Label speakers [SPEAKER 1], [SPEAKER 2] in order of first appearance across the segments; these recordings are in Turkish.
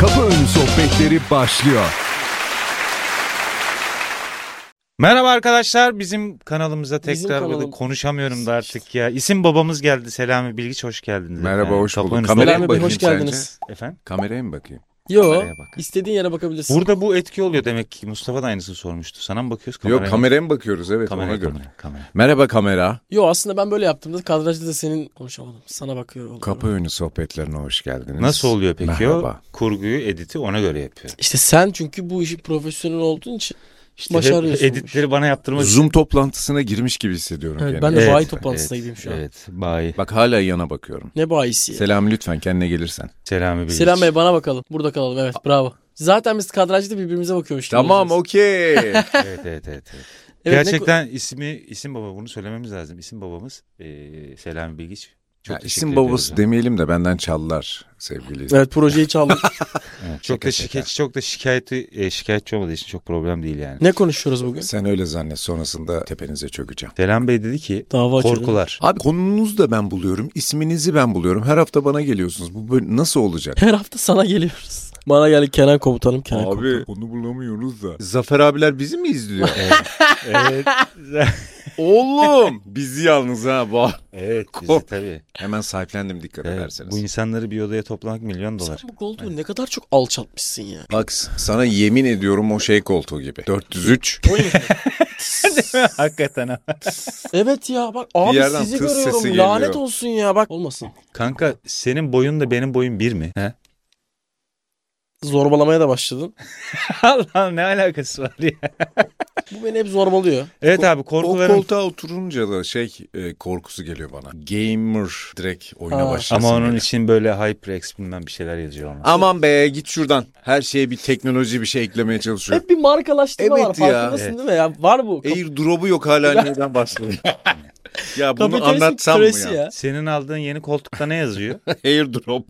[SPEAKER 1] Kapı Önü Sohbetleri başlıyor.
[SPEAKER 2] Merhaba arkadaşlar. Bizim kanalımıza tekrar
[SPEAKER 3] Bizim kanalım-
[SPEAKER 2] konuşamıyorum da artık ya. İsim babamız geldi. Selami Bilgiç hoş geldiniz.
[SPEAKER 4] Merhaba,
[SPEAKER 2] efendim.
[SPEAKER 4] hoş bulduk.
[SPEAKER 2] Kapınızda-
[SPEAKER 4] Kameraya
[SPEAKER 3] Selam
[SPEAKER 4] mı
[SPEAKER 3] hepiniz,
[SPEAKER 4] bakayım
[SPEAKER 3] hoş geldiniz.
[SPEAKER 2] şey Efendim?
[SPEAKER 4] Kameraya mı bakayım?
[SPEAKER 3] Yo,
[SPEAKER 2] Kameraya bak.
[SPEAKER 3] istediğin yere bakabilirsin.
[SPEAKER 2] Burada bu etki oluyor demek ki. Mustafa da aynısını sormuştu. Sana mı bakıyoruz kameraya?
[SPEAKER 4] Yok
[SPEAKER 2] mı?
[SPEAKER 4] kameraya mı bakıyoruz evet
[SPEAKER 2] Kameraya,
[SPEAKER 4] ona göre.
[SPEAKER 2] kamera, kamera.
[SPEAKER 4] Merhaba kamera.
[SPEAKER 3] Yo aslında ben böyle yaptığımda kadrajda da senin konuşamadım. Sana bakıyor oluyorum.
[SPEAKER 4] Kapı önü sohbetlerine hoş geldiniz.
[SPEAKER 2] Nasıl oluyor peki
[SPEAKER 4] Merhaba.
[SPEAKER 2] o? Kurguyu, editi ona göre yapıyor.
[SPEAKER 3] İşte sen çünkü bu işi profesyonel olduğun için
[SPEAKER 2] İşte
[SPEAKER 3] Başarıyorsunuz.
[SPEAKER 2] hep editleri bana yaptırmak
[SPEAKER 4] Zoom toplantısına girmiş gibi hissediyorum
[SPEAKER 3] Evet,
[SPEAKER 4] kendimi.
[SPEAKER 3] ben de
[SPEAKER 2] Evet,
[SPEAKER 3] bayi toplantısına gideyim şu an.
[SPEAKER 2] Evet, bay.
[SPEAKER 4] Bak hala yana bakıyorum.
[SPEAKER 3] Ne bayisi ya.
[SPEAKER 4] Selam lütfen kendine gelirsen.
[SPEAKER 2] Selami Bilgiç.
[SPEAKER 3] Selam Bey bana bakalım. Burada kalalım evet bravo. Zaten biz kadrajda birbirimize bakıyormuş. gibi
[SPEAKER 4] Tamam
[SPEAKER 3] olacağız.
[SPEAKER 4] okey.
[SPEAKER 2] Evet, evet, evet. evet.
[SPEAKER 3] Evet, ne-
[SPEAKER 2] Gerçekten ismi, isim baba bunu söylememiz lazım. İsim babamız eee Selami Bilgiç. Çok
[SPEAKER 4] Ya,
[SPEAKER 2] teşekkür
[SPEAKER 4] İsim
[SPEAKER 2] ediyoruz
[SPEAKER 4] babası
[SPEAKER 2] efendim.
[SPEAKER 4] demeyelim de benden çallar sevgili.
[SPEAKER 3] Evet projeyi çaldık.
[SPEAKER 2] Evet, çok da şikayetçi, çok da şikayeti e, şikayetçi olmadığı için çok problem değil yani.
[SPEAKER 3] ne konuşuyoruz bugün?
[SPEAKER 4] Sen öyle zannet sonrasında tepenize çökeceğim.
[SPEAKER 2] Selam Bey dedi ki
[SPEAKER 3] Dava açalım.
[SPEAKER 2] korkular.
[SPEAKER 4] Abi konunuzu da ben buluyorum, isminizi ben buluyorum. Her hafta bana geliyorsunuz. Bu böyle nasıl olacak?
[SPEAKER 3] Her hafta sana geliyoruz. Bana geldi Kenan komutanım Kenan komutanım.
[SPEAKER 4] konu bulamıyoruz da. Zafer abiler bizi mi izliyor?
[SPEAKER 2] evet.
[SPEAKER 4] Oğlum bizi yalnız ha bu.
[SPEAKER 2] evet
[SPEAKER 4] Kork-
[SPEAKER 2] bizi tabii.
[SPEAKER 4] Hemen sahiplendim dikkat
[SPEAKER 2] Evet,
[SPEAKER 4] ederseniz.
[SPEAKER 2] bu insanları bir odaya toplamak milyon
[SPEAKER 3] Sen
[SPEAKER 2] dolar.
[SPEAKER 3] bu koltuğu ne kadar çok alçaltmışsın ya.
[SPEAKER 4] Bak sana yemin ediyorum o şey koltuğu gibi. 403.
[SPEAKER 2] Hakikaten ha.
[SPEAKER 3] Evet ya bak abi
[SPEAKER 4] yerden
[SPEAKER 3] sizi
[SPEAKER 4] tıs sesi
[SPEAKER 3] görüyorum.
[SPEAKER 4] geliyor.
[SPEAKER 3] Lanet olsun ya bak. Olmasın.
[SPEAKER 2] Kanka senin boyun da benim boyum bir mi? He?
[SPEAKER 3] Zorbalamaya da başladın.
[SPEAKER 2] Allah'ım ne alakası var ya.
[SPEAKER 3] Bu beni hep zorbalıyor.
[SPEAKER 2] Evet abi
[SPEAKER 4] O
[SPEAKER 2] korkuların.
[SPEAKER 4] koltuğa oturunca da şey e, korkusu geliyor bana. Gamer direkt oyuna
[SPEAKER 3] Aa.
[SPEAKER 4] başlasın.
[SPEAKER 2] Ama onun
[SPEAKER 4] böyle.
[SPEAKER 2] için böyle HyperX bilmem bir şeyler yazıyor ona.
[SPEAKER 4] Aman be git şuradan. Her şeye bir teknoloji bir şey eklemeye çalışıyor.
[SPEAKER 3] Hep bir markalaştırma
[SPEAKER 4] Evet
[SPEAKER 3] var.
[SPEAKER 4] ya.
[SPEAKER 3] Farkındasın değil mi ya? Var bu. Kap-
[SPEAKER 4] Airdrop'u yok hala neden başlıyor? ya bunu
[SPEAKER 3] kapitalizm
[SPEAKER 4] anlatsam mı
[SPEAKER 3] kölesi
[SPEAKER 4] ya?
[SPEAKER 2] Senin aldığın yeni koltukta ne yazıyor?
[SPEAKER 4] Airdrop.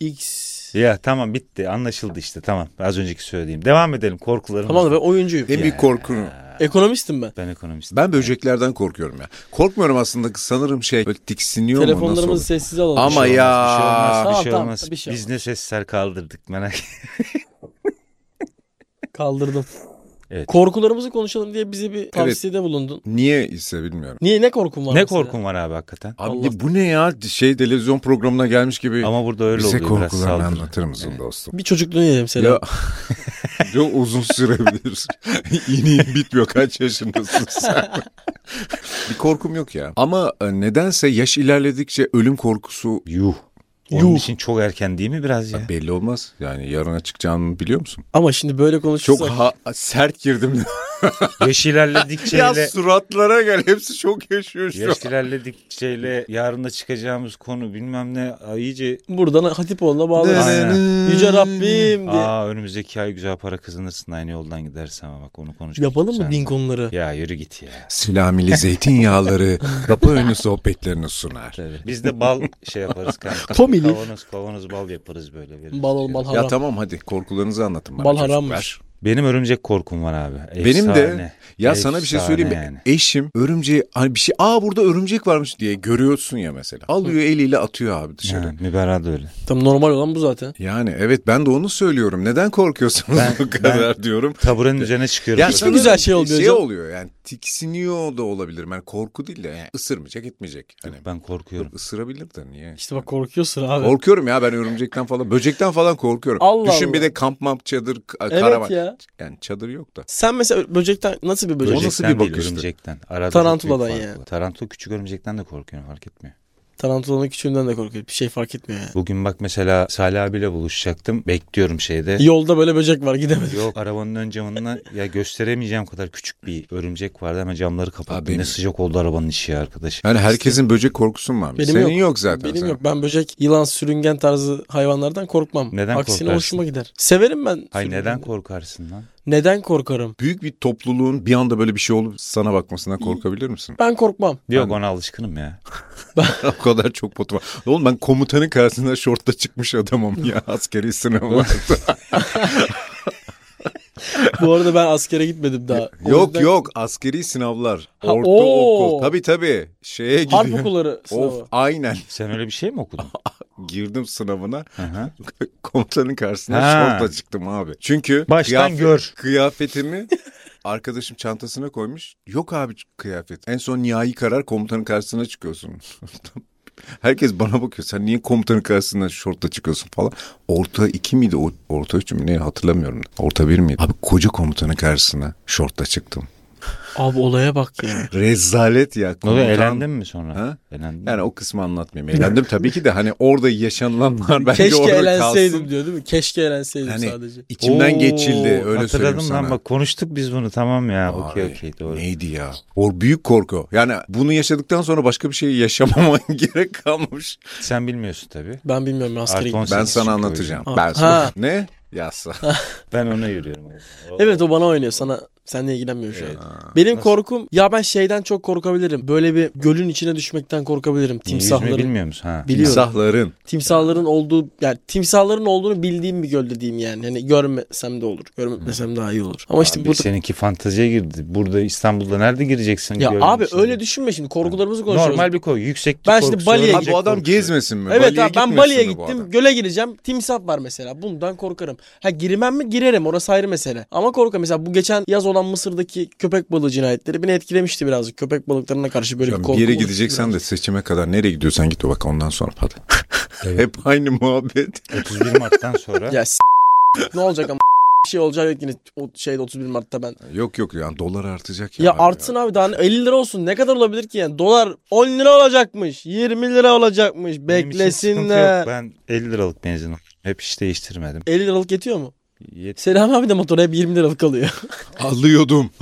[SPEAKER 3] X.
[SPEAKER 2] ya tamam bitti anlaşıldı işte tamam. Az önceki söylediğim. Devam edelim korkularımız.
[SPEAKER 3] Tamam da ben oyuncuyum.
[SPEAKER 4] en büyük korkum.
[SPEAKER 3] Ekonomistim ben.
[SPEAKER 2] Ben ekonomistim.
[SPEAKER 4] Ben böceklerden korkuyorum ya. Korkmuyorum aslında sanırım şey böyle tiksiniyor mu nasıl
[SPEAKER 3] Telefonlarımızı
[SPEAKER 4] oluyor?
[SPEAKER 3] sessize alalım.
[SPEAKER 4] Ama
[SPEAKER 3] Şu
[SPEAKER 4] ya-
[SPEAKER 3] an.
[SPEAKER 2] Bir şey olmaz, bir
[SPEAKER 3] Tamam,
[SPEAKER 2] şey
[SPEAKER 3] tamam,
[SPEAKER 2] olmaz.
[SPEAKER 3] bir şey
[SPEAKER 2] Biz
[SPEAKER 3] olmaz.
[SPEAKER 2] ne sesler kaldırdık merak etme.
[SPEAKER 3] Kaldırdım.
[SPEAKER 2] Evet.
[SPEAKER 3] Korkularımızı konuşalım diye bize bir tavsiyede bulundun.
[SPEAKER 4] Niye ise bilmiyorum.
[SPEAKER 3] Niye ne korkun var
[SPEAKER 2] Ne
[SPEAKER 3] mesela?
[SPEAKER 2] korkun var abi hakikaten?
[SPEAKER 4] Abi
[SPEAKER 3] Allah-
[SPEAKER 4] bu ne ya? Şey televizyon programına gelmiş gibi.
[SPEAKER 2] Ama burada öyle
[SPEAKER 4] bize
[SPEAKER 2] oluyor biraz
[SPEAKER 4] korkularını
[SPEAKER 2] saldırı. Ee,
[SPEAKER 4] anlatır mısın dostum?
[SPEAKER 3] Bir çocukluğunu yedim selam.
[SPEAKER 4] Ya, ya uzun sürebilir. yeni yeni bitmiyor. Kaç yaşındasın sen? bir korkum yok ya. Ama e, nedense yaş ilerledikçe ölüm korkusu
[SPEAKER 2] Yuh. Onun
[SPEAKER 3] Yuh.
[SPEAKER 2] için çok erken değil mi biraz ya?
[SPEAKER 4] belli olmaz. Yani yarına çıkacağını biliyor musun?
[SPEAKER 3] Ama şimdi böyle konuşursak.
[SPEAKER 4] Çok ha- sert girdim.
[SPEAKER 2] Yaş
[SPEAKER 4] ya
[SPEAKER 2] ilerledikçeyle...
[SPEAKER 4] suratlara gel. Hepsi çok yaşıyor şu an.
[SPEAKER 2] Yaş ilerledikçeyle yarına çıkacağımız konu bilmem ne Ay, iyice...
[SPEAKER 3] Buradan Hatipoğlu'na bağlarız.
[SPEAKER 2] Aynen.
[SPEAKER 3] Yüce Rabbim diye.
[SPEAKER 2] Aa önümüzdeki ay güzel para kazanırsın aynı yoldan gidersen ama bak onu konuşuruz.
[SPEAKER 3] Yapalım mı link onları?
[SPEAKER 2] Ya yürü git ya.
[SPEAKER 4] Silamili zeytinyağları kapı önü sohbetlerini sunar.
[SPEAKER 2] Biz de bal şey yaparız kanka.
[SPEAKER 3] Tomili.
[SPEAKER 2] Kavanoz kavanoz bal yaparız böyle. veririz.
[SPEAKER 3] Bal ol bal haram.
[SPEAKER 4] Ya tamam hadi korkularınızı anlatın bana.
[SPEAKER 3] Bal
[SPEAKER 4] çocuklar.
[SPEAKER 3] harammış.
[SPEAKER 2] Benim örümcek korkum var abi. Efsane.
[SPEAKER 4] Benim de ya sana bir şey söyleyeyim mi?
[SPEAKER 2] Efsane
[SPEAKER 4] Eşim örümceği hani bir şey aa burada örümcek varmış diye görüyorsun ya mesela. Alıyor eliyle atıyor abi dışarı.
[SPEAKER 2] Yani. Ha, Müberra da öyle.
[SPEAKER 3] Tam normal olan bu zaten.
[SPEAKER 4] Yani evet ben de onu söylüyorum. Neden korkuyorsunuz
[SPEAKER 2] Ben-
[SPEAKER 4] bu kadar diyorum.
[SPEAKER 2] Taburenin üzerine çıkıyorum.
[SPEAKER 4] Ya
[SPEAKER 2] Böyle.
[SPEAKER 4] sanırım
[SPEAKER 3] güzel şey olmuyor
[SPEAKER 4] Şey
[SPEAKER 3] hocam.
[SPEAKER 4] oluyor yani tiksiniyor da olabilir. Yani korku değil de yani ısırmayacak etmeyecek. Hani
[SPEAKER 2] Ben korkuyorum.
[SPEAKER 4] ısırabilir de niye?
[SPEAKER 3] İşte bak korkuyorsun abi.
[SPEAKER 4] Korkuyorum ya ben örümcekten falan. Böcekten falan korkuyorum.
[SPEAKER 3] Allah
[SPEAKER 4] Düşün bir
[SPEAKER 3] Allah.
[SPEAKER 4] de kamp mamp çadır k-
[SPEAKER 3] evet
[SPEAKER 4] karavan.
[SPEAKER 3] ya.
[SPEAKER 4] Yani çadır yok da.
[SPEAKER 3] Sen mesela böcekten nasıl bir böcek?
[SPEAKER 4] Böcek. nasıl bir
[SPEAKER 2] değil,
[SPEAKER 4] bakıştı?
[SPEAKER 2] örümcekten. Arada
[SPEAKER 3] Tarantuladan
[SPEAKER 2] çok büyük fark
[SPEAKER 3] yani.
[SPEAKER 2] var. Tarantula küçük örümcekten de korkuyorum fark etmiyor.
[SPEAKER 3] Tarantulanın küçüğünden de korkuyor. Bir şey fark etmiyor yani.
[SPEAKER 2] Bugün bak mesela Salih abiyle buluşacaktım. Bekliyorum şeyde.
[SPEAKER 3] Yolda böyle böcek var gidemedim.
[SPEAKER 2] Yok arabanın ön camından ya gösteremeyeceğim kadar küçük bir örümcek vardı hemen camları kapattım.
[SPEAKER 4] Abi-
[SPEAKER 2] Ne sıcak oldu arabanın işi ya arkadaş.
[SPEAKER 4] Yani herkesin böcek korkusu mu varmış?
[SPEAKER 3] Benim
[SPEAKER 4] Senin
[SPEAKER 3] yok.
[SPEAKER 4] yok, zaten.
[SPEAKER 3] Benim
[SPEAKER 4] sen.
[SPEAKER 3] yok. Ben böcek, yılan, sürüngen tarzı hayvanlardan korkmam.
[SPEAKER 2] Neden
[SPEAKER 3] Aksine
[SPEAKER 2] korkarsın?
[SPEAKER 3] hoşuma gider. Severim ben.
[SPEAKER 2] Hay neden
[SPEAKER 3] sürüngeni.
[SPEAKER 2] korkarsın lan?
[SPEAKER 3] Neden korkarım?
[SPEAKER 4] Büyük bir topluluğun bir anda böyle bir şey olup sana bakmasından korkabilir misin?
[SPEAKER 3] Ben korkmam.
[SPEAKER 2] Yok ona alışkınım ya.
[SPEAKER 4] o kadar çok potum var. Oğlum ben komutanın karşısında şortla çıkmış adamım ya askeri sınavlarda.
[SPEAKER 3] Bu arada ben askere gitmedim daha. O
[SPEAKER 4] yok
[SPEAKER 3] yüzden
[SPEAKER 4] yok askeri sınavlar.
[SPEAKER 3] Ha,
[SPEAKER 4] Orta
[SPEAKER 3] oo.
[SPEAKER 4] okul. Tabii tabii. Şeye
[SPEAKER 3] Harp
[SPEAKER 4] gidiyor.
[SPEAKER 3] okulları sınavı.
[SPEAKER 4] Of aynen.
[SPEAKER 2] Sen öyle bir şey mi okudun?
[SPEAKER 4] girdim sınavına
[SPEAKER 2] Hı hı.
[SPEAKER 4] komutanın karşısına
[SPEAKER 2] Ha.
[SPEAKER 4] şortla çıktım abi. Çünkü
[SPEAKER 2] Baştan
[SPEAKER 4] kıyafet-
[SPEAKER 2] gör.
[SPEAKER 4] kıyafetimi arkadaşım çantasına koymuş. Yok abi kıyafet. En son nihai karar komutanın karşısına çıkıyorsun. Herkes bana bakıyor. Sen niye komutanın karşısına şortla çıkıyorsun falan. Orta iki miydi? o- Orta üç mü? Ne hatırlamıyorum. Orta bir miydi? Abi koca komutanın karşısına şortla çıktım.
[SPEAKER 3] Abi olaya bak ya.
[SPEAKER 4] Rezalet ya.
[SPEAKER 2] Ne oluyor?
[SPEAKER 4] komutan.
[SPEAKER 2] Elendin mi sonra?
[SPEAKER 4] Ha?
[SPEAKER 2] Elendin. mi?
[SPEAKER 4] Yani o kısmı anlatmayayım. Eğlendim tabii ki de hani orada yaşanılanlar bence
[SPEAKER 3] Keşke
[SPEAKER 4] orada
[SPEAKER 3] elenseydim
[SPEAKER 4] kalsın.
[SPEAKER 3] diyor değil mi? Keşke elenseydim
[SPEAKER 4] Yani
[SPEAKER 3] sadece.
[SPEAKER 4] Hani içimden
[SPEAKER 2] Oo,
[SPEAKER 4] geçildi öyle söyleyeyim
[SPEAKER 2] Hatırladım
[SPEAKER 4] sana.
[SPEAKER 2] lan bak konuştuk biz bunu tamam ya.
[SPEAKER 4] Vay,
[SPEAKER 2] Okey okey doğru.
[SPEAKER 4] Neydi ya? O büyük korku. Yani bunu yaşadıktan sonra başka bir şey yaşamama gerek kalmamış.
[SPEAKER 2] Sen bilmiyorsun tabii.
[SPEAKER 3] Ben bilmiyorum ben askere
[SPEAKER 2] Artı
[SPEAKER 3] gittim.
[SPEAKER 2] 18
[SPEAKER 4] Ben
[SPEAKER 2] çünkü
[SPEAKER 4] sana
[SPEAKER 2] o
[SPEAKER 4] anlatacağım.
[SPEAKER 3] Ha.
[SPEAKER 4] Ben sana.
[SPEAKER 3] Ha.
[SPEAKER 4] Ne? Yassa.
[SPEAKER 2] yüzden. Ben ona yürüyorum.
[SPEAKER 3] Evet o bana oynuyor sana. Senle ilgilenmiyor şu an. Benim korkum ya ben şeyden çok korkabilirim. Böyle bir gölün içine düşmekten korkabilirim.
[SPEAKER 2] Timsahları.
[SPEAKER 3] Timsahların.
[SPEAKER 2] bilmiyor musun? Ha.
[SPEAKER 3] Biliyorum.
[SPEAKER 4] Timsahların.
[SPEAKER 3] Timsahların olduğu yani timsahların olduğunu bildiğim bir göl dediğim yani. Hani görmesem de olur. Görmesem daha iyi olur. Ama işte
[SPEAKER 2] Abi
[SPEAKER 3] burada
[SPEAKER 2] Seninki fanteziye girdi. Burada İstanbul'da nerede gireceksin?
[SPEAKER 3] ya
[SPEAKER 2] Gördüğün
[SPEAKER 3] abi
[SPEAKER 2] içinde.
[SPEAKER 3] öyle düşünme şimdi korkularımızı konuşuyoruz.
[SPEAKER 2] Normal bir koy. Yükseklik
[SPEAKER 3] Ben şimdi
[SPEAKER 2] korkusu,
[SPEAKER 3] Bali'ye
[SPEAKER 4] Ha,
[SPEAKER 2] örümcek
[SPEAKER 4] bu adam
[SPEAKER 2] korkusu.
[SPEAKER 4] gezmesin mi?
[SPEAKER 3] Evet abi ben
[SPEAKER 4] gitmesin
[SPEAKER 3] Bali'ye
[SPEAKER 4] mi bu adam?
[SPEAKER 3] gittim. Göle gireceğim. Timsah var mesela. Bundan korkarım. Ha girmem mi? Girerim. Orası ayrı mesele. Ama korkarım. Mesela bu geçen yaz olan Mısır'daki köpek balığı cinayetleri beni etkilemişti birazcık. Köpek balıklarına karşı böyle bir
[SPEAKER 4] Yani
[SPEAKER 3] korku.
[SPEAKER 4] bir yere
[SPEAKER 3] oluştu
[SPEAKER 4] gideceksen
[SPEAKER 3] biraz.
[SPEAKER 4] de seçime kadar nereye gidiyorsan git bak ondan sonra hadi. Hep aynı muhabbet.
[SPEAKER 2] 31 Mart'tan sonra.
[SPEAKER 3] Ya s- ne olacak ama bir şey olacak yok yine o şeyde 31 Mart'ta ben.
[SPEAKER 4] Yok yok yani dolar artacak ya.
[SPEAKER 3] Ya, artsın abi daha ne- 50 lira olsun ne kadar olabilir ki yani dolar 10 lira olacakmış 20 lira olacakmış
[SPEAKER 2] Benim için sıkıntı yok.
[SPEAKER 3] beklesinler.
[SPEAKER 2] Ben 50 liralık benzin aldım. Hep hiç değiştirmedim.
[SPEAKER 3] 50 liralık yetiyor mu?
[SPEAKER 2] Yet-
[SPEAKER 3] Selami abi de motora hep 20 liralık alıyor.
[SPEAKER 4] Alıyordum.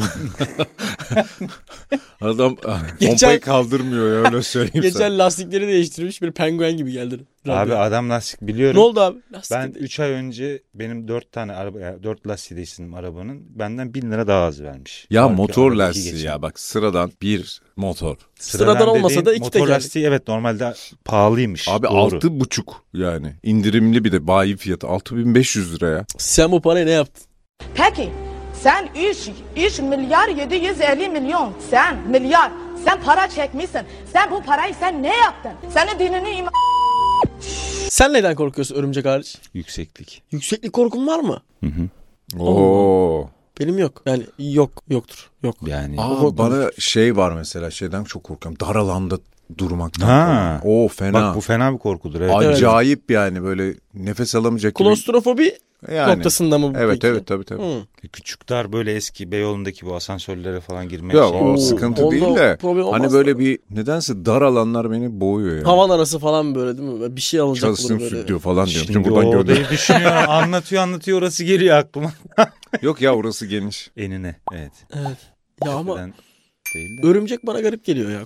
[SPEAKER 4] Adam ah, pompayı
[SPEAKER 3] Geçen-
[SPEAKER 4] kaldırmıyor ya öyle söyleyeyim sana.
[SPEAKER 3] Geçen lastikleri değiştirmiş bir penguen gibi geldi.
[SPEAKER 2] Abi
[SPEAKER 3] Radyoya.
[SPEAKER 2] adam lastik biliyorum.
[SPEAKER 3] Ne oldu abi? Lastik
[SPEAKER 2] Ben
[SPEAKER 3] dedi.
[SPEAKER 2] 3 ay önce benim 4 tane araba, yani 4 lastiği değiştirdim arabanın. Benden 1000 lira daha az vermiş.
[SPEAKER 4] Ya
[SPEAKER 2] Halbuki
[SPEAKER 4] motor
[SPEAKER 2] araba iki
[SPEAKER 4] lastiği
[SPEAKER 2] geçen.
[SPEAKER 4] ya bak sıradan bir motor.
[SPEAKER 3] Sıradan olmasa
[SPEAKER 2] dediğin
[SPEAKER 3] da iki
[SPEAKER 2] Motor
[SPEAKER 3] tekerlek.
[SPEAKER 2] lastiği evet normalde pahalıymış.
[SPEAKER 4] Abi
[SPEAKER 2] doğru.
[SPEAKER 4] altı buçuk yani indirimli bir de bayi fiyatı 6500 lira ya.
[SPEAKER 3] Sen bu parayı ne yaptın?
[SPEAKER 5] Peki sen 3, 3 milyar 750 milyon sen milyar sen para çekmişsin. Sen bu parayı sen ne yaptın? Senin dinini iman
[SPEAKER 3] Sen neden korkuyorsun örümcek hariç?
[SPEAKER 2] Yükseklik.
[SPEAKER 3] Yükseklik korkun var mı?
[SPEAKER 4] Oo.
[SPEAKER 3] Benim yok. Yani yok yoktur. Yok.
[SPEAKER 2] Yani.
[SPEAKER 4] Aa, bana şey var mesela şeyden çok korkuyorum. Dar alanda durmaktan.
[SPEAKER 2] Ha.
[SPEAKER 4] falan. Oo fena.
[SPEAKER 2] Bak bu fena bir korkudur. Evet.
[SPEAKER 4] Acayip yani böyle nefes alamayacak gibi.
[SPEAKER 3] Klostrofobi
[SPEAKER 4] Yani.
[SPEAKER 3] noktasında mı bu
[SPEAKER 4] Evet
[SPEAKER 3] peki? Hmm.
[SPEAKER 4] evet tabii tabii.
[SPEAKER 3] Hı.
[SPEAKER 2] Küçük dar böyle eski Beyoğlu'ndaki bu asansörlere falan girmek.
[SPEAKER 4] Ya
[SPEAKER 2] şey-
[SPEAKER 4] o
[SPEAKER 3] Oo,
[SPEAKER 4] sıkıntı
[SPEAKER 3] onda
[SPEAKER 4] değil de
[SPEAKER 3] problem olmaz
[SPEAKER 4] hani böyle
[SPEAKER 3] tabii.
[SPEAKER 4] bir nedense dar alanlar beni boğuyor ya.
[SPEAKER 3] Havan arası falan böyle değil mi? Bir şey alacak olur
[SPEAKER 4] Çalıştığım
[SPEAKER 3] böyle.
[SPEAKER 4] stüdyo falan diyorum.
[SPEAKER 2] Şimdi
[SPEAKER 4] Şimdi buradan
[SPEAKER 2] o
[SPEAKER 4] gördüm.
[SPEAKER 2] odayı düşünüyorum. anlatıyor anlatıyor orası geliyor aklıma.
[SPEAKER 4] Yok ya orası geniş.
[SPEAKER 2] Enine. Evet.
[SPEAKER 3] Ya ama
[SPEAKER 2] Neden Değil de.
[SPEAKER 3] örümcek bana garip geliyor ya.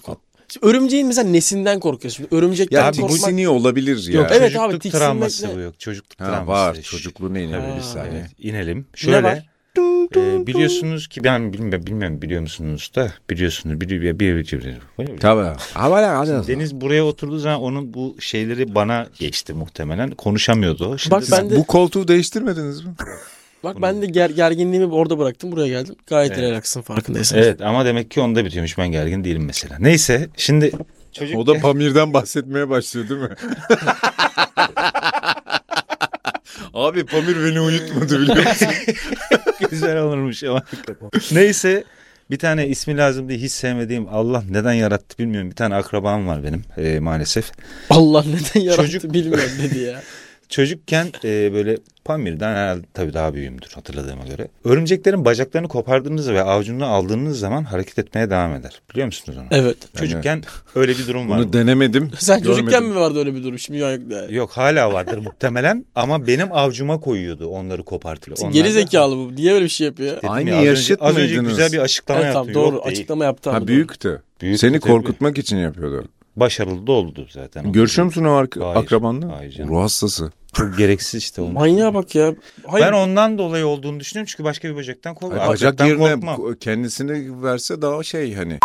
[SPEAKER 3] Şimdi örümceğin mesela nesinden korkuyorsun? Örümcekten
[SPEAKER 4] Ya
[SPEAKER 2] Abi bu
[SPEAKER 3] korkmak.
[SPEAKER 4] tiksiniyor olabilir ya.
[SPEAKER 2] Yok,
[SPEAKER 3] Evet abi,
[SPEAKER 2] çocukluk
[SPEAKER 3] tiksinmekle-
[SPEAKER 2] travması bu yok. Çocukluk
[SPEAKER 4] Ha,
[SPEAKER 2] travması.
[SPEAKER 4] var
[SPEAKER 2] Şu-
[SPEAKER 4] çocukluğuna inebilir bir
[SPEAKER 3] Ha,
[SPEAKER 4] saniye.
[SPEAKER 2] Evet, inelim.
[SPEAKER 3] Ne var?
[SPEAKER 2] Şöyle e, biliyorsunuz ki ben bilmiyorum, bilmiyorum biliyor musunuz da biliyorsunuz bir bir bir, bir, bir-
[SPEAKER 4] Tabii. Ama hadi. hadi.
[SPEAKER 2] Deniz buraya oturduğu zaman onun bu şeyleri bana geçti muhtemelen. Konuşamıyordu o. Şimdi
[SPEAKER 3] Bak ben de
[SPEAKER 4] Bu koltuğu değiştirmediniz mi?
[SPEAKER 3] bak ben de ger- gerginliğimi orada bıraktım buraya geldim. Gayet
[SPEAKER 2] Evet.
[SPEAKER 3] relaxın farkındaysan.
[SPEAKER 2] Evet ama demek ki onda bitiyormuş. Ben gergin değilim mesela. Neyse şimdi çocuk
[SPEAKER 4] O da Pamir'den bahsetmeye başlıyor değil mi? Abi Pamir beni uyutmadı biliyor musun?
[SPEAKER 2] güzel olurmuş ama. Neyse bir tane ismi lazım diye hiç sevmediğim Allah neden yarattı bilmiyorum. Bir tane akrabam var benim e, maalesef.
[SPEAKER 3] Allah neden yarattı
[SPEAKER 2] Çocuk-
[SPEAKER 3] bilmiyorum dedi ya.
[SPEAKER 2] Çocukken e, böyle Pamir'den herhalde tabii daha büyüğümdür hatırladığıma göre. Örümceklerin bacaklarını kopardığınız ve avcunu aldığınız zaman hareket etmeye devam eder. Biliyor musunuz onu?
[SPEAKER 3] Evet.
[SPEAKER 2] Çocukken öyle bir durum var.
[SPEAKER 4] Bunu denemedim.
[SPEAKER 3] Sen çocukken
[SPEAKER 4] görmedim.
[SPEAKER 3] mi vardı öyle bir durum? Şimdi yok da.
[SPEAKER 2] Yok hala vardır muhtemelen ama benim avcuma koyuyordu onları kopartıp. Onlar
[SPEAKER 3] Geri
[SPEAKER 2] da-
[SPEAKER 3] zekalı bu. Niye böyle bir şey yapıyor?
[SPEAKER 2] Dedim
[SPEAKER 4] Aynı
[SPEAKER 2] ya, az önce-
[SPEAKER 4] yaşıt
[SPEAKER 2] Az önce
[SPEAKER 4] mıydınız?
[SPEAKER 2] güzel bir açıklama
[SPEAKER 3] Evet, tamam
[SPEAKER 2] yaptım.
[SPEAKER 3] doğru
[SPEAKER 2] Yok, değil.
[SPEAKER 3] açıklama yaptı. abi,
[SPEAKER 4] Ha
[SPEAKER 3] doğru.
[SPEAKER 4] büyüktü.
[SPEAKER 2] Büyüktü
[SPEAKER 4] Seni
[SPEAKER 2] tabii.
[SPEAKER 4] korkutmak için yapıyordu.
[SPEAKER 2] Başarılı da oldu zaten.
[SPEAKER 4] Görüşüyor musun o ar-
[SPEAKER 2] Hayır,
[SPEAKER 4] akrabanla?
[SPEAKER 2] hayır canım.
[SPEAKER 4] Ruh hastası.
[SPEAKER 2] Çok gereksiz işte onun.
[SPEAKER 3] Manyağa bak ya. Hayır.
[SPEAKER 2] Ben ondan dolayı olduğunu düşünüyorum çünkü başka bir bacaktan korkmam.
[SPEAKER 4] Bacak
[SPEAKER 2] Bacaktan
[SPEAKER 4] yerine
[SPEAKER 2] korkmam.
[SPEAKER 4] ko- kendisini verse daha şey hani.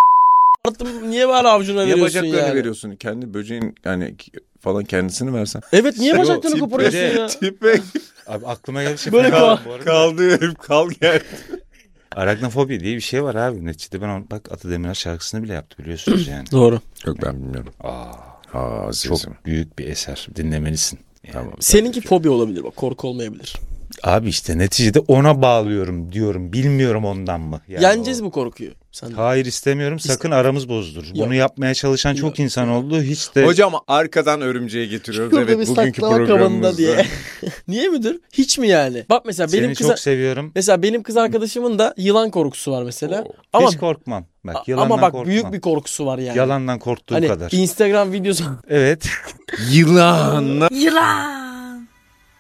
[SPEAKER 3] Arttım, niye bari avcuna
[SPEAKER 4] Niye
[SPEAKER 3] veriyorsun
[SPEAKER 4] bacaklarını
[SPEAKER 3] yani?
[SPEAKER 4] veriyorsun? Kendi böceğin yani ki- falan kendisini versen.
[SPEAKER 3] Evet niye
[SPEAKER 2] Sen o
[SPEAKER 3] bacaklarını
[SPEAKER 2] tip-
[SPEAKER 3] koparıyorsun
[SPEAKER 2] Bence-
[SPEAKER 3] ya?
[SPEAKER 4] Tipe
[SPEAKER 2] Abi aklıma geldi şey.
[SPEAKER 3] Böyle
[SPEAKER 2] falan
[SPEAKER 3] kal-
[SPEAKER 2] bu arada.
[SPEAKER 4] kaldı herif kal gel.
[SPEAKER 2] Aragnofobi diye bir şey var abi. Neticede ben onu, bak Ata Demirer şarkısını bile yaptı biliyorsunuz yani.
[SPEAKER 3] Doğru.
[SPEAKER 4] Yok ben bilmiyorum.
[SPEAKER 2] Aa,
[SPEAKER 4] Aa,
[SPEAKER 2] Çok
[SPEAKER 4] azizim.
[SPEAKER 2] büyük bir eser. Dinlemelisin. Yani.
[SPEAKER 4] Tamam.
[SPEAKER 3] Seninki fobi olabilir bak korku olmayabilir.
[SPEAKER 2] Abi işte neticede ona bağlıyorum diyorum. Bilmiyorum ondan mı? Yani
[SPEAKER 3] Yeneceğiz
[SPEAKER 2] o-
[SPEAKER 3] bu korkuyu. Sen de.
[SPEAKER 2] Hayır istemiyorum. Sakın aramız bozdur. Bunu yapmaya çalışan çok insan oldu. Hiç de
[SPEAKER 4] Hocam arkadan örümceği getiriyoruz.
[SPEAKER 3] Şurada bir
[SPEAKER 4] evet bugünkü
[SPEAKER 3] saklama kabında
[SPEAKER 4] programımızda.
[SPEAKER 3] diye. Niye müdür? Hiç mi yani? Bak mesela
[SPEAKER 2] seni
[SPEAKER 3] benim kız
[SPEAKER 2] çok seviyorum.
[SPEAKER 3] mesela benim kız arkadaşımın da yılan korkusu var mesela. Ama
[SPEAKER 2] Hiç korkmam. Bak, yalandan
[SPEAKER 3] ama bak
[SPEAKER 2] korkmam.
[SPEAKER 3] büyük bir korkusu var yani.
[SPEAKER 2] Yalandan korktuğu
[SPEAKER 3] hani
[SPEAKER 2] kadar.
[SPEAKER 3] Instagram videosu
[SPEAKER 2] Evet.
[SPEAKER 4] Yılanla
[SPEAKER 6] Yılan.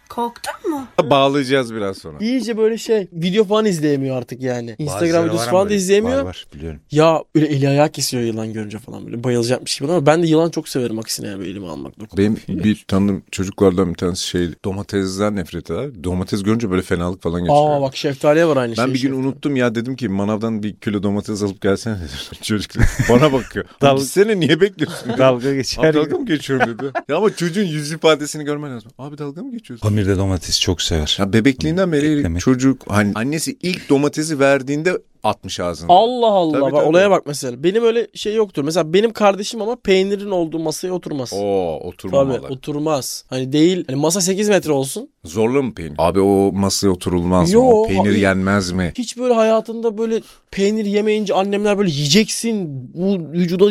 [SPEAKER 6] Korktun mu?
[SPEAKER 4] bağlayacağız biraz sonra.
[SPEAKER 3] iyice böyle şey video falan izleyemiyor artık yani. Instagram
[SPEAKER 2] Bazıları
[SPEAKER 3] videosu
[SPEAKER 2] var
[SPEAKER 3] falan
[SPEAKER 2] ama
[SPEAKER 3] da
[SPEAKER 2] böyle.
[SPEAKER 3] izleyemiyor.
[SPEAKER 2] Var var biliyorum.
[SPEAKER 3] Ya böyle eli ayağı kesiyor yılan görünce falan böyle bayılacakmış gibi ama ben de yılan çok severim aksine yani böyle elime almak. dokunup.
[SPEAKER 4] Benim bir tanıdığım çocuklardan bir tanesi şey domatesden nefret eder. Domates görünce böyle fenalık falan geçiriyor.
[SPEAKER 3] Aa bak şeftaliye var aynı şey.
[SPEAKER 4] Ben bir gün
[SPEAKER 3] şeftali.
[SPEAKER 4] unuttum ya dedim ki manavdan bir kilo domates alıp gelsene dedim. Çocuk dedi, bana bakıyor.
[SPEAKER 2] Dal-
[SPEAKER 4] Gitsene niye bekliyorsun? Abi
[SPEAKER 2] Dalga geçer.
[SPEAKER 4] dalga mı geçiyorum dedi. Ya ama çocuğun yüz ifadesini görmen lazım. Abi dalga mı geçiyorsun?
[SPEAKER 2] Pamir de domates çok sever.
[SPEAKER 4] Ya bebekliğinden beri
[SPEAKER 2] Beklemek.
[SPEAKER 4] çocuk hani annesi ilk domatesi verdiğinde atmış ağzına.
[SPEAKER 3] Allah Allah
[SPEAKER 4] Tabii,
[SPEAKER 3] bak
[SPEAKER 4] tabii.
[SPEAKER 3] olaya bak mesela. Benim öyle şey yoktur. Mesela benim kardeşim ama peynirin olduğu masaya oturmaz.
[SPEAKER 4] Oo
[SPEAKER 3] Tabii
[SPEAKER 4] oturmamalı.
[SPEAKER 3] oturmaz. Hani değil. Hani masa 8 metre olsun.
[SPEAKER 4] Zorla mı peynir? Abi o masaya oturulmaz mı?
[SPEAKER 3] Yo,
[SPEAKER 4] O peynir
[SPEAKER 3] hayır.
[SPEAKER 4] yenmez mi?
[SPEAKER 3] Hiç böyle hayatında böyle peynir yemeyince annemler böyle yiyeceksin. Bu vücuda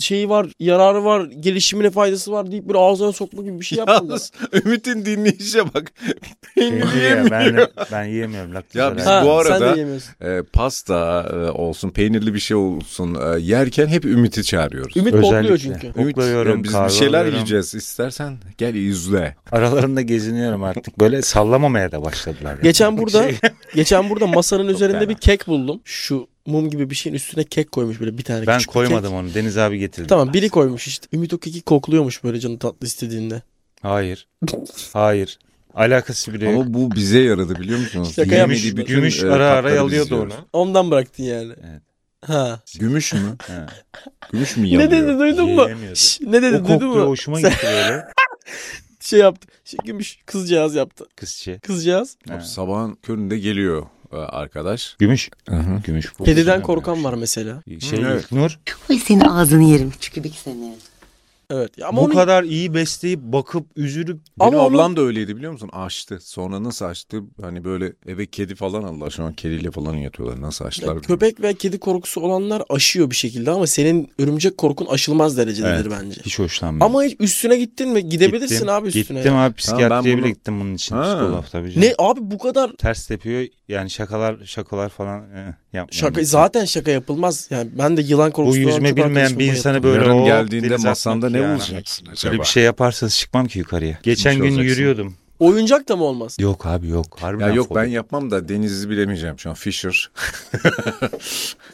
[SPEAKER 3] şeyi var, yararı var, gelişimine faydası var deyip böyle ağzına sokma gibi bir şey yapmadılar.
[SPEAKER 4] Yalnız Ümit'in dinleyişe bak. Peynir
[SPEAKER 2] Peynir Şey ya,
[SPEAKER 4] yemiyor.
[SPEAKER 2] ben, ben yiyemiyorum. laktoz
[SPEAKER 4] Ya biz
[SPEAKER 2] alerjim.
[SPEAKER 4] bu
[SPEAKER 3] Ha, sen de
[SPEAKER 4] arada-
[SPEAKER 3] yemiyorsun.
[SPEAKER 4] E, pasta e, olsun, peynirli bir şey olsun e, yerken hep Ümit'i çağırıyoruz.
[SPEAKER 3] Ümit
[SPEAKER 2] Özellikle.
[SPEAKER 3] kokluyor çünkü.
[SPEAKER 4] Ümit,
[SPEAKER 2] Kokluyorum,
[SPEAKER 4] ya biz bir
[SPEAKER 2] kahve
[SPEAKER 4] şeyler
[SPEAKER 2] alıyorum.
[SPEAKER 4] yiyeceğiz. İstersen gel izle.
[SPEAKER 2] Aralarında geziniyorum artık. Böyle sallamamaya da başladılar. yani.
[SPEAKER 3] Geçen burada geçen burada masanın üzerinde
[SPEAKER 2] Şey- fena.
[SPEAKER 3] bir kek buldum. Şu mum gibi bir şeyin üstüne kek koymuş böyle bir tane
[SPEAKER 2] Ben
[SPEAKER 3] küçük bir kek.
[SPEAKER 2] koymadım onu. Deniz abi getirdi.
[SPEAKER 3] Tamam biri koymuş işte. Ümit o keki kokluyormuş böyle canı tatlı istediğinde.
[SPEAKER 2] Hayır. Hayır. Alakası bile yok.
[SPEAKER 4] Ama bu bize yaradı biliyor musunuz?
[SPEAKER 3] Şaka
[SPEAKER 4] Yemediği
[SPEAKER 2] Gümüş,
[SPEAKER 3] yapmışlar.
[SPEAKER 4] bütün,
[SPEAKER 2] gümüş
[SPEAKER 4] e,
[SPEAKER 2] ara
[SPEAKER 4] tatları biz
[SPEAKER 2] ara yalıyordu
[SPEAKER 4] yiyoruz.
[SPEAKER 2] onu.
[SPEAKER 3] Ondan bıraktın yani.
[SPEAKER 2] Evet.
[SPEAKER 3] Ha.
[SPEAKER 4] Gümüş mü?
[SPEAKER 2] He.
[SPEAKER 4] gümüş mü
[SPEAKER 3] Ne
[SPEAKER 4] yalıyor?
[SPEAKER 3] dedi duydun mu?
[SPEAKER 2] Yiyemiyordu.
[SPEAKER 3] Şş, ne dedi
[SPEAKER 2] O
[SPEAKER 3] duydun mu?
[SPEAKER 2] kokluyor hoşuma
[SPEAKER 3] Sen
[SPEAKER 2] gitti böyle.
[SPEAKER 3] şey yaptı. Şey, gümüş kızcağız yaptı.
[SPEAKER 2] Kızçı.
[SPEAKER 3] Kızcağız.
[SPEAKER 4] Abi sabahın köründe geliyor e, arkadaş.
[SPEAKER 2] Gümüş.
[SPEAKER 4] hı.
[SPEAKER 2] Gümüş. bu.
[SPEAKER 3] Kediden korkan var mesela.
[SPEAKER 2] Şey,
[SPEAKER 4] Hı, evet.
[SPEAKER 2] İlknur
[SPEAKER 6] Ay senin ağzını yerim. Çükübük seni.
[SPEAKER 3] Evet. Ya Ama
[SPEAKER 2] bu
[SPEAKER 3] onun-
[SPEAKER 2] kadar iyi besleyip bakıp üzülüp
[SPEAKER 4] Benim
[SPEAKER 3] Ama
[SPEAKER 4] ablam da öyleydi biliyor musun? Açtı. Sonra nasıl açtı? Hani böyle eve kedi falan aldılar. Şu an kediyle falan yatıyorlar. Nasıl açtılar? bilmiyorum.
[SPEAKER 3] köpek ve kedi korkusu olanlar aşıyor bir şekilde ama senin örümcek korkun aşılmaz derecededir
[SPEAKER 2] Evet.
[SPEAKER 3] bence.
[SPEAKER 2] hiç hoşlanmıyorum.
[SPEAKER 3] Ama hiç üstüne gittin mi? Gidebilirsin
[SPEAKER 2] Gittim-
[SPEAKER 3] abi üstüne.
[SPEAKER 2] Gittim abi
[SPEAKER 4] Tamam, ben
[SPEAKER 2] psikiyatriye bile
[SPEAKER 4] bunu-
[SPEAKER 2] gittim bunun için.
[SPEAKER 4] Ha.
[SPEAKER 2] Psikolog tabii canım.
[SPEAKER 3] Ne abi bu kadar
[SPEAKER 2] Ters tepiyor yani şakalar şakalar falan eh, yapmıyorum.
[SPEAKER 3] şaka zaten şaka yapılmaz. Yani ben de yılan
[SPEAKER 2] Bu
[SPEAKER 3] korkusu olan
[SPEAKER 2] yüzme
[SPEAKER 3] çok
[SPEAKER 2] bilmeyen
[SPEAKER 3] arkadaşım
[SPEAKER 2] bir
[SPEAKER 3] var.
[SPEAKER 2] insanı böyle
[SPEAKER 4] Yarın
[SPEAKER 2] "Oo,
[SPEAKER 4] geldiğinde
[SPEAKER 2] denize
[SPEAKER 4] masanda
[SPEAKER 2] atmak
[SPEAKER 4] ne
[SPEAKER 2] yani."
[SPEAKER 4] bulacaksın acaba?
[SPEAKER 2] Böyle bir şey yaparsanız çıkmam ki yukarıya. Geçen gün
[SPEAKER 4] olacaksın.
[SPEAKER 2] yürüyordum.
[SPEAKER 3] Oyuncak da mı olmaz?
[SPEAKER 2] Yok abi yok. Harbiden
[SPEAKER 4] Ya yok ben
[SPEAKER 2] fobi.
[SPEAKER 4] yapmam da denizi bilemeyeceğim şu an. Fisher.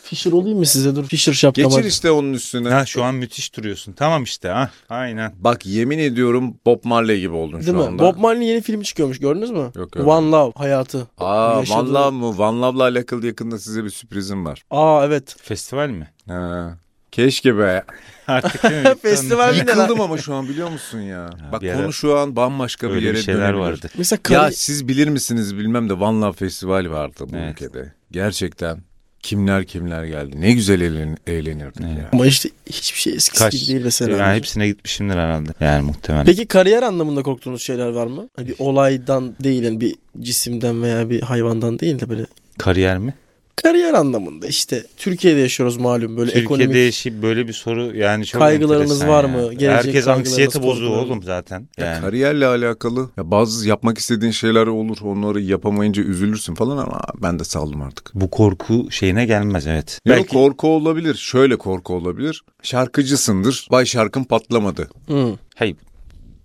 [SPEAKER 3] Fisher olayım mı size dur. Fisher şapkama.
[SPEAKER 4] Geçir işte onun üstüne.
[SPEAKER 2] Ha, şu an müthiş duruyorsun. Tamam işte. Ha, aynen.
[SPEAKER 4] Bak yemin ediyorum Bob Marley gibi oldun
[SPEAKER 3] Değil
[SPEAKER 4] şu
[SPEAKER 3] mi?
[SPEAKER 4] anda.
[SPEAKER 3] Bob Marley'nin yeni filmi çıkıyormuş gördünüz mü?
[SPEAKER 4] görmedim.
[SPEAKER 3] One Love hayatı.
[SPEAKER 4] Aa
[SPEAKER 3] Yaşadığı-
[SPEAKER 4] Van Love mu? Van Love'la alakalı yakında size bir sürprizim var.
[SPEAKER 3] Aa evet.
[SPEAKER 2] Festival mi?
[SPEAKER 4] Ha. Keşke be.
[SPEAKER 2] Artık değil mi?
[SPEAKER 3] Festival bir de lan.
[SPEAKER 4] Yıkıldım ama şu an biliyor musun ya? Bak
[SPEAKER 2] bir
[SPEAKER 4] konu
[SPEAKER 2] ara-
[SPEAKER 4] şu an bambaşka bir
[SPEAKER 2] Öyle
[SPEAKER 4] yere
[SPEAKER 2] bir şeyler
[SPEAKER 4] dönebilir.
[SPEAKER 2] vardı.
[SPEAKER 3] Mesela
[SPEAKER 4] Ya
[SPEAKER 3] kari...
[SPEAKER 4] siz bilir misiniz bilmem de Van Love Festivali vardı bu
[SPEAKER 2] Evet.
[SPEAKER 4] ülkede. Gerçekten kimler kimler geldi. Ne güzel eğlen- eğlenirdik ya.
[SPEAKER 3] ama işte hiçbir şey eskisi
[SPEAKER 2] Kaç-
[SPEAKER 3] gibi değil mesela.
[SPEAKER 2] Yani hepsine gitmişimdir herhalde. Yani muhtemelen.
[SPEAKER 3] Peki kariyer anlamında korktuğunuz şeyler var mı? Hani bir olaydan değil yani bir cisimden veya bir hayvandan değil de böyle
[SPEAKER 2] Kariyer mi?
[SPEAKER 3] kariyer anlamında işte Türkiye'de yaşıyoruz malum böyle
[SPEAKER 2] Türkiye'de
[SPEAKER 3] ekonomik
[SPEAKER 2] yaşıp böyle bir soru yani çok
[SPEAKER 3] Kaygılarınız
[SPEAKER 2] enteresan
[SPEAKER 3] var
[SPEAKER 2] ya.
[SPEAKER 3] mı? Gelecek
[SPEAKER 2] Herkes
[SPEAKER 3] kaygılarınız,
[SPEAKER 2] anksiyete bozuğu
[SPEAKER 3] korkularınız.
[SPEAKER 2] oğlum zaten.
[SPEAKER 4] Ya
[SPEAKER 2] Yani.
[SPEAKER 4] kariyerle alakalı ya bazı yapmak istediğin şeyler olur onları yapamayınca üzülürsün falan ama ben de saldım artık.
[SPEAKER 2] Bu korku şeyine gelmez evet.
[SPEAKER 4] Yok
[SPEAKER 2] Belki
[SPEAKER 4] korku olabilir. Şöyle korku olabilir. Şarkıcısındır. Vay şarkın patlamadı.
[SPEAKER 3] Hı.
[SPEAKER 2] hayır.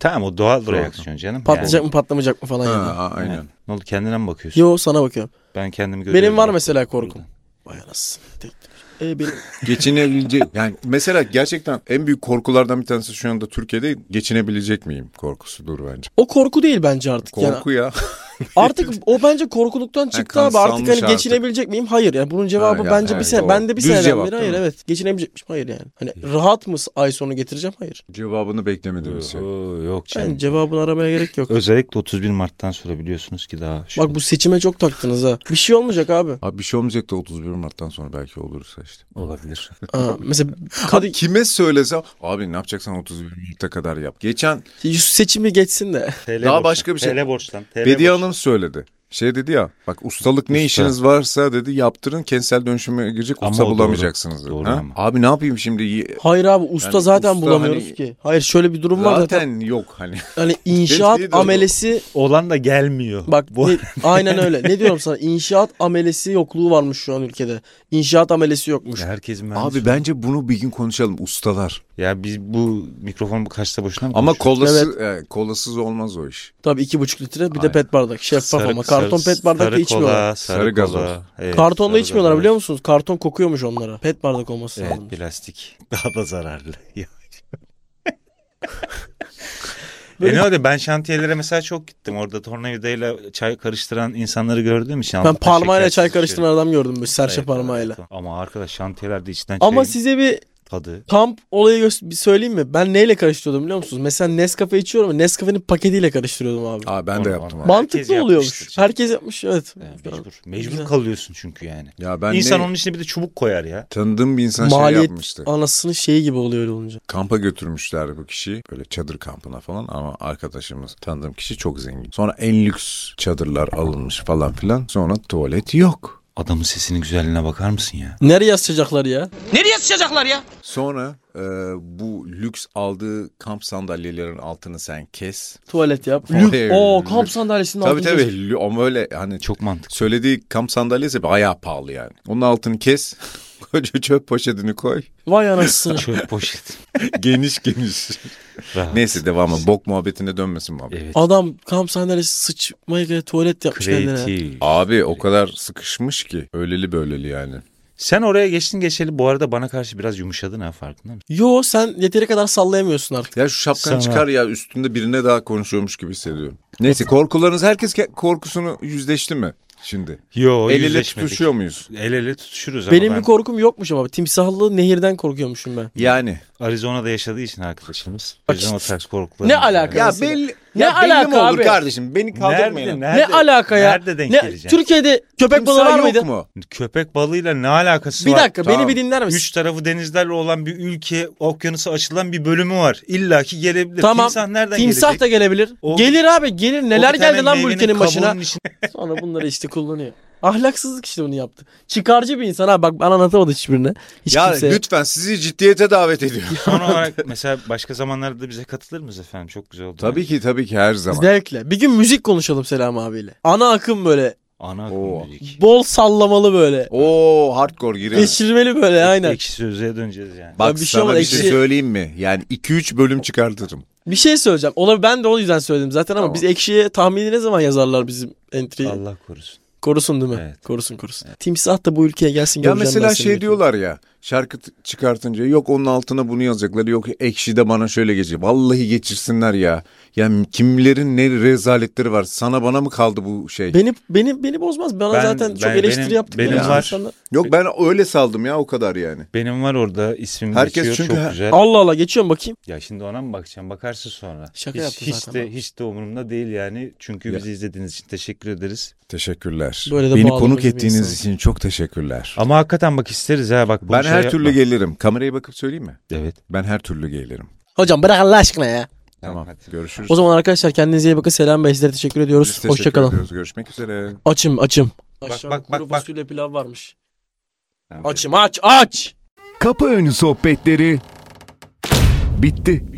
[SPEAKER 2] Tamam o doğal
[SPEAKER 4] Doğru.
[SPEAKER 2] reaksiyon canım.
[SPEAKER 3] patlayacak
[SPEAKER 2] Yani.
[SPEAKER 3] mı patlamayacak mı falan
[SPEAKER 4] Ha,
[SPEAKER 3] yani.
[SPEAKER 4] a- aynen.
[SPEAKER 2] Ne oldu kendine mi bakıyorsun?
[SPEAKER 3] Yo sana bakıyorum.
[SPEAKER 2] Ben kendimi görüyorum.
[SPEAKER 3] Benim var mesela korkum. Vay anasını. Tek- E, benim...
[SPEAKER 4] Geçinebilecek yani mesela gerçekten en büyük korkulardan bir tanesi şu anda Türkiye'de geçinebilecek miyim korkusudur bence.
[SPEAKER 3] O korku değil bence artık. yani,
[SPEAKER 4] Korku ya.
[SPEAKER 3] Artık o bence korkuluktan çıktı abi. Artık
[SPEAKER 4] kansalmış
[SPEAKER 3] hani
[SPEAKER 4] artık.
[SPEAKER 3] geçinebilecek miyim? Hayır. Yani bunun cevabı
[SPEAKER 4] Ha, yani
[SPEAKER 3] bence bir
[SPEAKER 4] evet,
[SPEAKER 3] sene.
[SPEAKER 4] doğru.
[SPEAKER 3] Ben de bir
[SPEAKER 4] Düz
[SPEAKER 3] seneden
[SPEAKER 4] cevap,
[SPEAKER 3] beri
[SPEAKER 4] değil
[SPEAKER 3] hayır
[SPEAKER 4] mi?
[SPEAKER 3] evet. Geçinebilecekmişim. Hayır yani. Hani rahat mı ay sonu getireceğim? Hayır.
[SPEAKER 4] Cevabını beklemedim. bir şey.
[SPEAKER 2] Oo, Yok
[SPEAKER 3] Yani
[SPEAKER 2] canım.
[SPEAKER 3] cevabını aramaya gerek yok.
[SPEAKER 2] Özellikle 31 Mart'tan sonra biliyorsunuz ki daha. şu-
[SPEAKER 3] Bak bu seçime çok taktınız ha. Bir şey olmayacak abi.
[SPEAKER 4] Abi bir şey olmayacak da 31 Mart'tan sonra belki olursa işte.
[SPEAKER 2] olabilir.
[SPEAKER 3] Ha, mesela Kadı,
[SPEAKER 4] Kime söylesem abi ne yapacaksan 31 Mart'ta kadar yap. Geçen
[SPEAKER 3] Yusuf seçimi geçsin de.
[SPEAKER 2] TL
[SPEAKER 4] Daha
[SPEAKER 2] borçlan.
[SPEAKER 4] başka bir şey.
[SPEAKER 2] TL borçlan. TL
[SPEAKER 4] Bediye
[SPEAKER 2] borçlan.
[SPEAKER 4] Hanım söyledi. Şey dedi ya bak ustalık ne
[SPEAKER 2] Usta.
[SPEAKER 4] işiniz varsa dedi yaptırın kentsel dönüşüme girecek
[SPEAKER 2] Ama
[SPEAKER 4] usta
[SPEAKER 2] o doğru.
[SPEAKER 4] bulamayacaksınız dedi.
[SPEAKER 2] Doğru
[SPEAKER 4] Ha?
[SPEAKER 2] ama.
[SPEAKER 4] Abi ne yapayım şimdi Y-
[SPEAKER 3] Hayır abi usta
[SPEAKER 4] Yani
[SPEAKER 3] zaten
[SPEAKER 4] usta
[SPEAKER 3] bulamıyoruz
[SPEAKER 4] hani-
[SPEAKER 3] ki. Hayır şöyle bir durum var zaten.
[SPEAKER 4] zaten yok hani.
[SPEAKER 3] Hani inşaat
[SPEAKER 4] Dediği de o.
[SPEAKER 3] amelesi
[SPEAKER 2] Olan da gelmiyor.
[SPEAKER 3] Bak
[SPEAKER 2] Bu-
[SPEAKER 3] ne- aynen öyle. Ne diyorum sana? İnşaat amelesi yokluğu varmış şu an ülkede. İnşaat amelesi yokmuş.
[SPEAKER 2] Herkes mühendis.
[SPEAKER 4] Abi bence bunu bir gün konuşalım ustalar.
[SPEAKER 2] Ya biz bu mikrofon bu kaçta boşuna mı
[SPEAKER 4] Ama
[SPEAKER 2] konuşuyoruz?
[SPEAKER 4] kolası, e, kolasız olmaz o iş.
[SPEAKER 3] Tabii iki buçuk litre bir de pet bardak. Şeffaf
[SPEAKER 2] Sarı-
[SPEAKER 3] ama. Karton
[SPEAKER 2] sarı-
[SPEAKER 3] pet bardakta
[SPEAKER 2] sarı
[SPEAKER 3] içmiyorlar.
[SPEAKER 2] kola, sarı,
[SPEAKER 4] Sarı
[SPEAKER 2] kola.
[SPEAKER 4] gazoz.
[SPEAKER 2] Evet,
[SPEAKER 3] Kartonda
[SPEAKER 2] sarı
[SPEAKER 3] içmiyorlar
[SPEAKER 2] gazoz.
[SPEAKER 3] biliyor musunuz? Karton kokuyormuş onlara. Pet bardak olması
[SPEAKER 2] Evet
[SPEAKER 3] lazım.
[SPEAKER 2] plastik. Daha da zararlı. Ya.
[SPEAKER 3] Böyle-
[SPEAKER 2] E ne oldu? Ben şantiyelere mesela çok gittim. Orada tornavidayla çay karıştıran insanları gördüğüm için.
[SPEAKER 3] Ben
[SPEAKER 2] altında
[SPEAKER 3] parmağıyla
[SPEAKER 2] şekersiz
[SPEAKER 3] çay
[SPEAKER 2] içerim.
[SPEAKER 3] karıştıran adam gördüm böyle serçe
[SPEAKER 2] Evet,
[SPEAKER 3] parmağıyla.
[SPEAKER 2] evet. Şey- Ama arkadaş şantiyelerde içten
[SPEAKER 3] Ama
[SPEAKER 2] çayın
[SPEAKER 3] size bir
[SPEAKER 2] tadı.
[SPEAKER 3] kamp olayı gö- bir söyleyeyim mi? Ben neyle karıştırıyordum biliyor musunuz? Mesela Nescafe içiyorum ama Nescafe'nin paketiyle karıştırıyordum abi.
[SPEAKER 4] Aa ben de
[SPEAKER 2] Onu-
[SPEAKER 4] yaptım
[SPEAKER 2] onu-
[SPEAKER 4] abi.
[SPEAKER 2] herkes
[SPEAKER 3] Mantıklı oluyormuş.
[SPEAKER 2] yapmıştır.
[SPEAKER 3] Herkes yapmış evet.
[SPEAKER 2] Yani mecbur. Mecbur
[SPEAKER 3] Güzel.
[SPEAKER 2] kalıyorsun çünkü yani.
[SPEAKER 4] Ya ben
[SPEAKER 2] İnsan
[SPEAKER 4] ne-
[SPEAKER 2] onun içine bir de çubuk koyar ya.
[SPEAKER 4] tanıdığım bir insan şey
[SPEAKER 3] Maliyet
[SPEAKER 4] yapmıştı.
[SPEAKER 3] anasının şeyi gibi oluyor öyle olunca.
[SPEAKER 4] Kampa götürmüşler bu kişiyi. Böyle çadır kampına falan ama arkadaşımız tanıdığım kişi çok zengin. Sonra en lüks çadırlar alınmış falan filan. Sonra tuvalet yok.
[SPEAKER 2] Adamın sesinin güzelliğine bakar mısın ya?
[SPEAKER 3] Nereye sıçacaklar ya?
[SPEAKER 7] Nereye sıçacaklar ya?
[SPEAKER 4] Sonra e, bu lüks aldığı kamp sandalyelerin altını sen kes.
[SPEAKER 3] Tuvalet yap.
[SPEAKER 4] Oraya
[SPEAKER 3] Lüp.
[SPEAKER 4] yürü,
[SPEAKER 3] Oo
[SPEAKER 4] lüp.
[SPEAKER 3] kamp sandalyesinin
[SPEAKER 4] Tabii
[SPEAKER 3] altında.
[SPEAKER 4] tabii lü- ama öyle hani çok
[SPEAKER 2] Çok mantıklı.
[SPEAKER 4] söylediği kamp sandalyesi bayağı pahalı yani. Onun altını kes. Koca çöp poşetini koy.
[SPEAKER 3] Vay anasını.
[SPEAKER 2] Çöp poşet.
[SPEAKER 4] geniş geniş.
[SPEAKER 2] Rahat.
[SPEAKER 4] Neyse devamı bok muhabbetine dönmesin muhabbet.
[SPEAKER 2] Evet.
[SPEAKER 3] Adam kamp sandalyesi sıçmaya göre tuvalet yapmış kendine.
[SPEAKER 2] Kreatif.
[SPEAKER 4] Abi o kadar sıkışmış ki öyleli böyleli yani.
[SPEAKER 2] Sen oraya geçtin geçeli bu arada bana karşı biraz yumuşadın ha farkında mısın?
[SPEAKER 3] Yo sen yeteri kadar sallayamıyorsun artık.
[SPEAKER 4] Ya şu şapkanı
[SPEAKER 2] Sana.
[SPEAKER 4] çıkar ya üstünde birine daha konuşuyormuş gibi hissediyorum. Neyse korkularınız herkes ke- korkusunu yüzleşti mi şimdi?
[SPEAKER 2] Yo
[SPEAKER 4] El ele tutuşuyor muyuz?
[SPEAKER 2] El ele tutuşuruz ama
[SPEAKER 3] Benim
[SPEAKER 2] ben
[SPEAKER 3] bir korkum yokmuş ama timsahlı nehirden korkuyormuşum ben.
[SPEAKER 4] Yani.
[SPEAKER 2] Arizona'da yaşadığı için arkadaşımız.
[SPEAKER 3] Bak
[SPEAKER 2] Arizona tax korkuları.
[SPEAKER 3] Ne alaka?
[SPEAKER 4] Ya
[SPEAKER 3] Mesela-
[SPEAKER 4] belli,
[SPEAKER 3] Ne
[SPEAKER 4] ne ya belli mi
[SPEAKER 3] alaka
[SPEAKER 4] olur
[SPEAKER 3] abi?
[SPEAKER 4] kardeşim? Beni kaldırmayın.
[SPEAKER 2] Nerede, nerede,
[SPEAKER 3] ne alaka ya?
[SPEAKER 2] Nerede denk
[SPEAKER 3] ne,
[SPEAKER 2] geleceksin?
[SPEAKER 3] Türkiye'de köpek balığı
[SPEAKER 4] Timsah
[SPEAKER 3] var
[SPEAKER 4] yok
[SPEAKER 3] mıydı?
[SPEAKER 4] mu?
[SPEAKER 2] Köpek balığıyla ne alakası
[SPEAKER 3] Bir
[SPEAKER 2] var?
[SPEAKER 3] dakika
[SPEAKER 4] Tamam.
[SPEAKER 3] beni bir dinler misin?
[SPEAKER 2] Üç tarafı denizlerle olan bir ülke, okyanusu açılan bir bölümü var. İlla ki gelebilir.
[SPEAKER 3] Tamam.
[SPEAKER 2] Timsah nereden
[SPEAKER 3] Timsah
[SPEAKER 2] gelecek?
[SPEAKER 3] da gelebilir.
[SPEAKER 2] O-
[SPEAKER 3] gelir abi gelir. Neler
[SPEAKER 2] O bir tane
[SPEAKER 3] geldi lan bu
[SPEAKER 2] meyvenin
[SPEAKER 3] ülkenin başına.
[SPEAKER 2] kabuğunun içine-
[SPEAKER 3] Sonra bunları işte kullanıyor. Ahlaksızlık işte bunu yaptı. Çıkarcı bir insan ha bak ben anlatamadım hiçbirine. Hiç
[SPEAKER 4] Ya
[SPEAKER 3] kimseye.
[SPEAKER 4] lütfen sizi ciddiyete davet ediyorum.
[SPEAKER 2] Son olarak mesela başka zamanlarda da bize katılır mıyız efendim? Çok güzel oldu.
[SPEAKER 4] tabii ki tabii ki her zaman.
[SPEAKER 3] Zevkle. Bir gün müzik konuşalım Selam abiyle. Ana akım böyle.
[SPEAKER 2] Ana
[SPEAKER 4] Oo.
[SPEAKER 2] müzik.
[SPEAKER 3] Bol sallamalı böyle.
[SPEAKER 4] Oo hardcore girelim.
[SPEAKER 3] Geçirmeli böyle aynen.
[SPEAKER 2] Ekşi sözlüğe döneceğiz yani.
[SPEAKER 4] Bak
[SPEAKER 3] Ya bir şey
[SPEAKER 4] sana
[SPEAKER 3] olmadı,
[SPEAKER 4] bir şey
[SPEAKER 3] ekşi-
[SPEAKER 4] söyleyeyim mi? Yani 2-3 bölüm çıkartırım.
[SPEAKER 3] Bir şey söyleyeceğim. Ona ben de o yüzden söyledim zaten ama
[SPEAKER 4] Tamam.
[SPEAKER 3] biz ekşiye tahmini ne zaman yazarlar bizim entry?
[SPEAKER 2] Allah korusun.
[SPEAKER 3] Korusun değil mi?
[SPEAKER 2] Evet.
[SPEAKER 3] Korusun korusun. Timsah da bu ülkeye
[SPEAKER 4] Ya
[SPEAKER 3] gelsin göreceğim
[SPEAKER 4] mesela
[SPEAKER 3] ben seni.
[SPEAKER 4] şey diyorlar ya şarkı t- çıkartınca yok onun altına bunu yazacaklar yok ekşi de bana şöyle geçecek. Vallahi geçirsinler ya. Ya kimlerin ne rezaletleri var sana bana mı kaldı bu şey?
[SPEAKER 3] Beni beni beni bozmaz. Bana
[SPEAKER 2] Ben-
[SPEAKER 3] zaten çok
[SPEAKER 2] ben-
[SPEAKER 3] eleştiri
[SPEAKER 2] benim-
[SPEAKER 3] yaptık.
[SPEAKER 2] benim
[SPEAKER 3] yani
[SPEAKER 2] var.
[SPEAKER 3] insanlar.
[SPEAKER 4] yok ben öyle saldım ya o kadar yani.
[SPEAKER 2] Benim var orada ismim
[SPEAKER 4] Herkes
[SPEAKER 2] geçiyor
[SPEAKER 4] çünkü
[SPEAKER 2] çok
[SPEAKER 4] ha-
[SPEAKER 2] güzel.
[SPEAKER 3] Allah Allah geçiyorum bakayım.
[SPEAKER 2] Ya şimdi ona mı bakacağım? Bakarsın sonra.
[SPEAKER 3] Şaka
[SPEAKER 2] hiç,
[SPEAKER 3] yaptı
[SPEAKER 2] hiç
[SPEAKER 3] zaten
[SPEAKER 2] de
[SPEAKER 3] abi.
[SPEAKER 2] hiç de umurumda değil yani. Çünkü
[SPEAKER 4] Ya.
[SPEAKER 2] bizi izlediğiniz için teşekkür ederiz.
[SPEAKER 4] Teşekkürler.
[SPEAKER 3] Böyle de
[SPEAKER 4] Beni
[SPEAKER 3] bağlamacı
[SPEAKER 4] konuk
[SPEAKER 3] bir
[SPEAKER 4] ettiğiniz
[SPEAKER 3] insan.
[SPEAKER 4] için çok teşekkürler.
[SPEAKER 2] Ama hakikaten bak isteriz ha bak. bunu
[SPEAKER 4] ben
[SPEAKER 2] şey
[SPEAKER 4] her
[SPEAKER 2] yapma.
[SPEAKER 4] türlü gelirim. Kameraya bakıp söyleyeyim mi?
[SPEAKER 2] Evet.
[SPEAKER 4] Ben her türlü gelirim.
[SPEAKER 3] Hocam bırak Allah aşkına ya.
[SPEAKER 4] Tamam. Görüşürüz.
[SPEAKER 3] O zaman arkadaşlar kendinize iyi bakın. Selam Bey sizlere teşekkür
[SPEAKER 4] Biz
[SPEAKER 3] ediyoruz.
[SPEAKER 4] teşekkür
[SPEAKER 3] Hoşçakalın.
[SPEAKER 4] ediyoruz. Görüşmek üzere.
[SPEAKER 3] Açım açım.
[SPEAKER 2] Bak,
[SPEAKER 3] Aşağıda
[SPEAKER 2] bak, bak,
[SPEAKER 3] kuru
[SPEAKER 2] bak.
[SPEAKER 3] fasulye pilav varmış.
[SPEAKER 2] Tamam.
[SPEAKER 3] Açım aç aç.
[SPEAKER 1] Kapı önü sohbetleri bitti.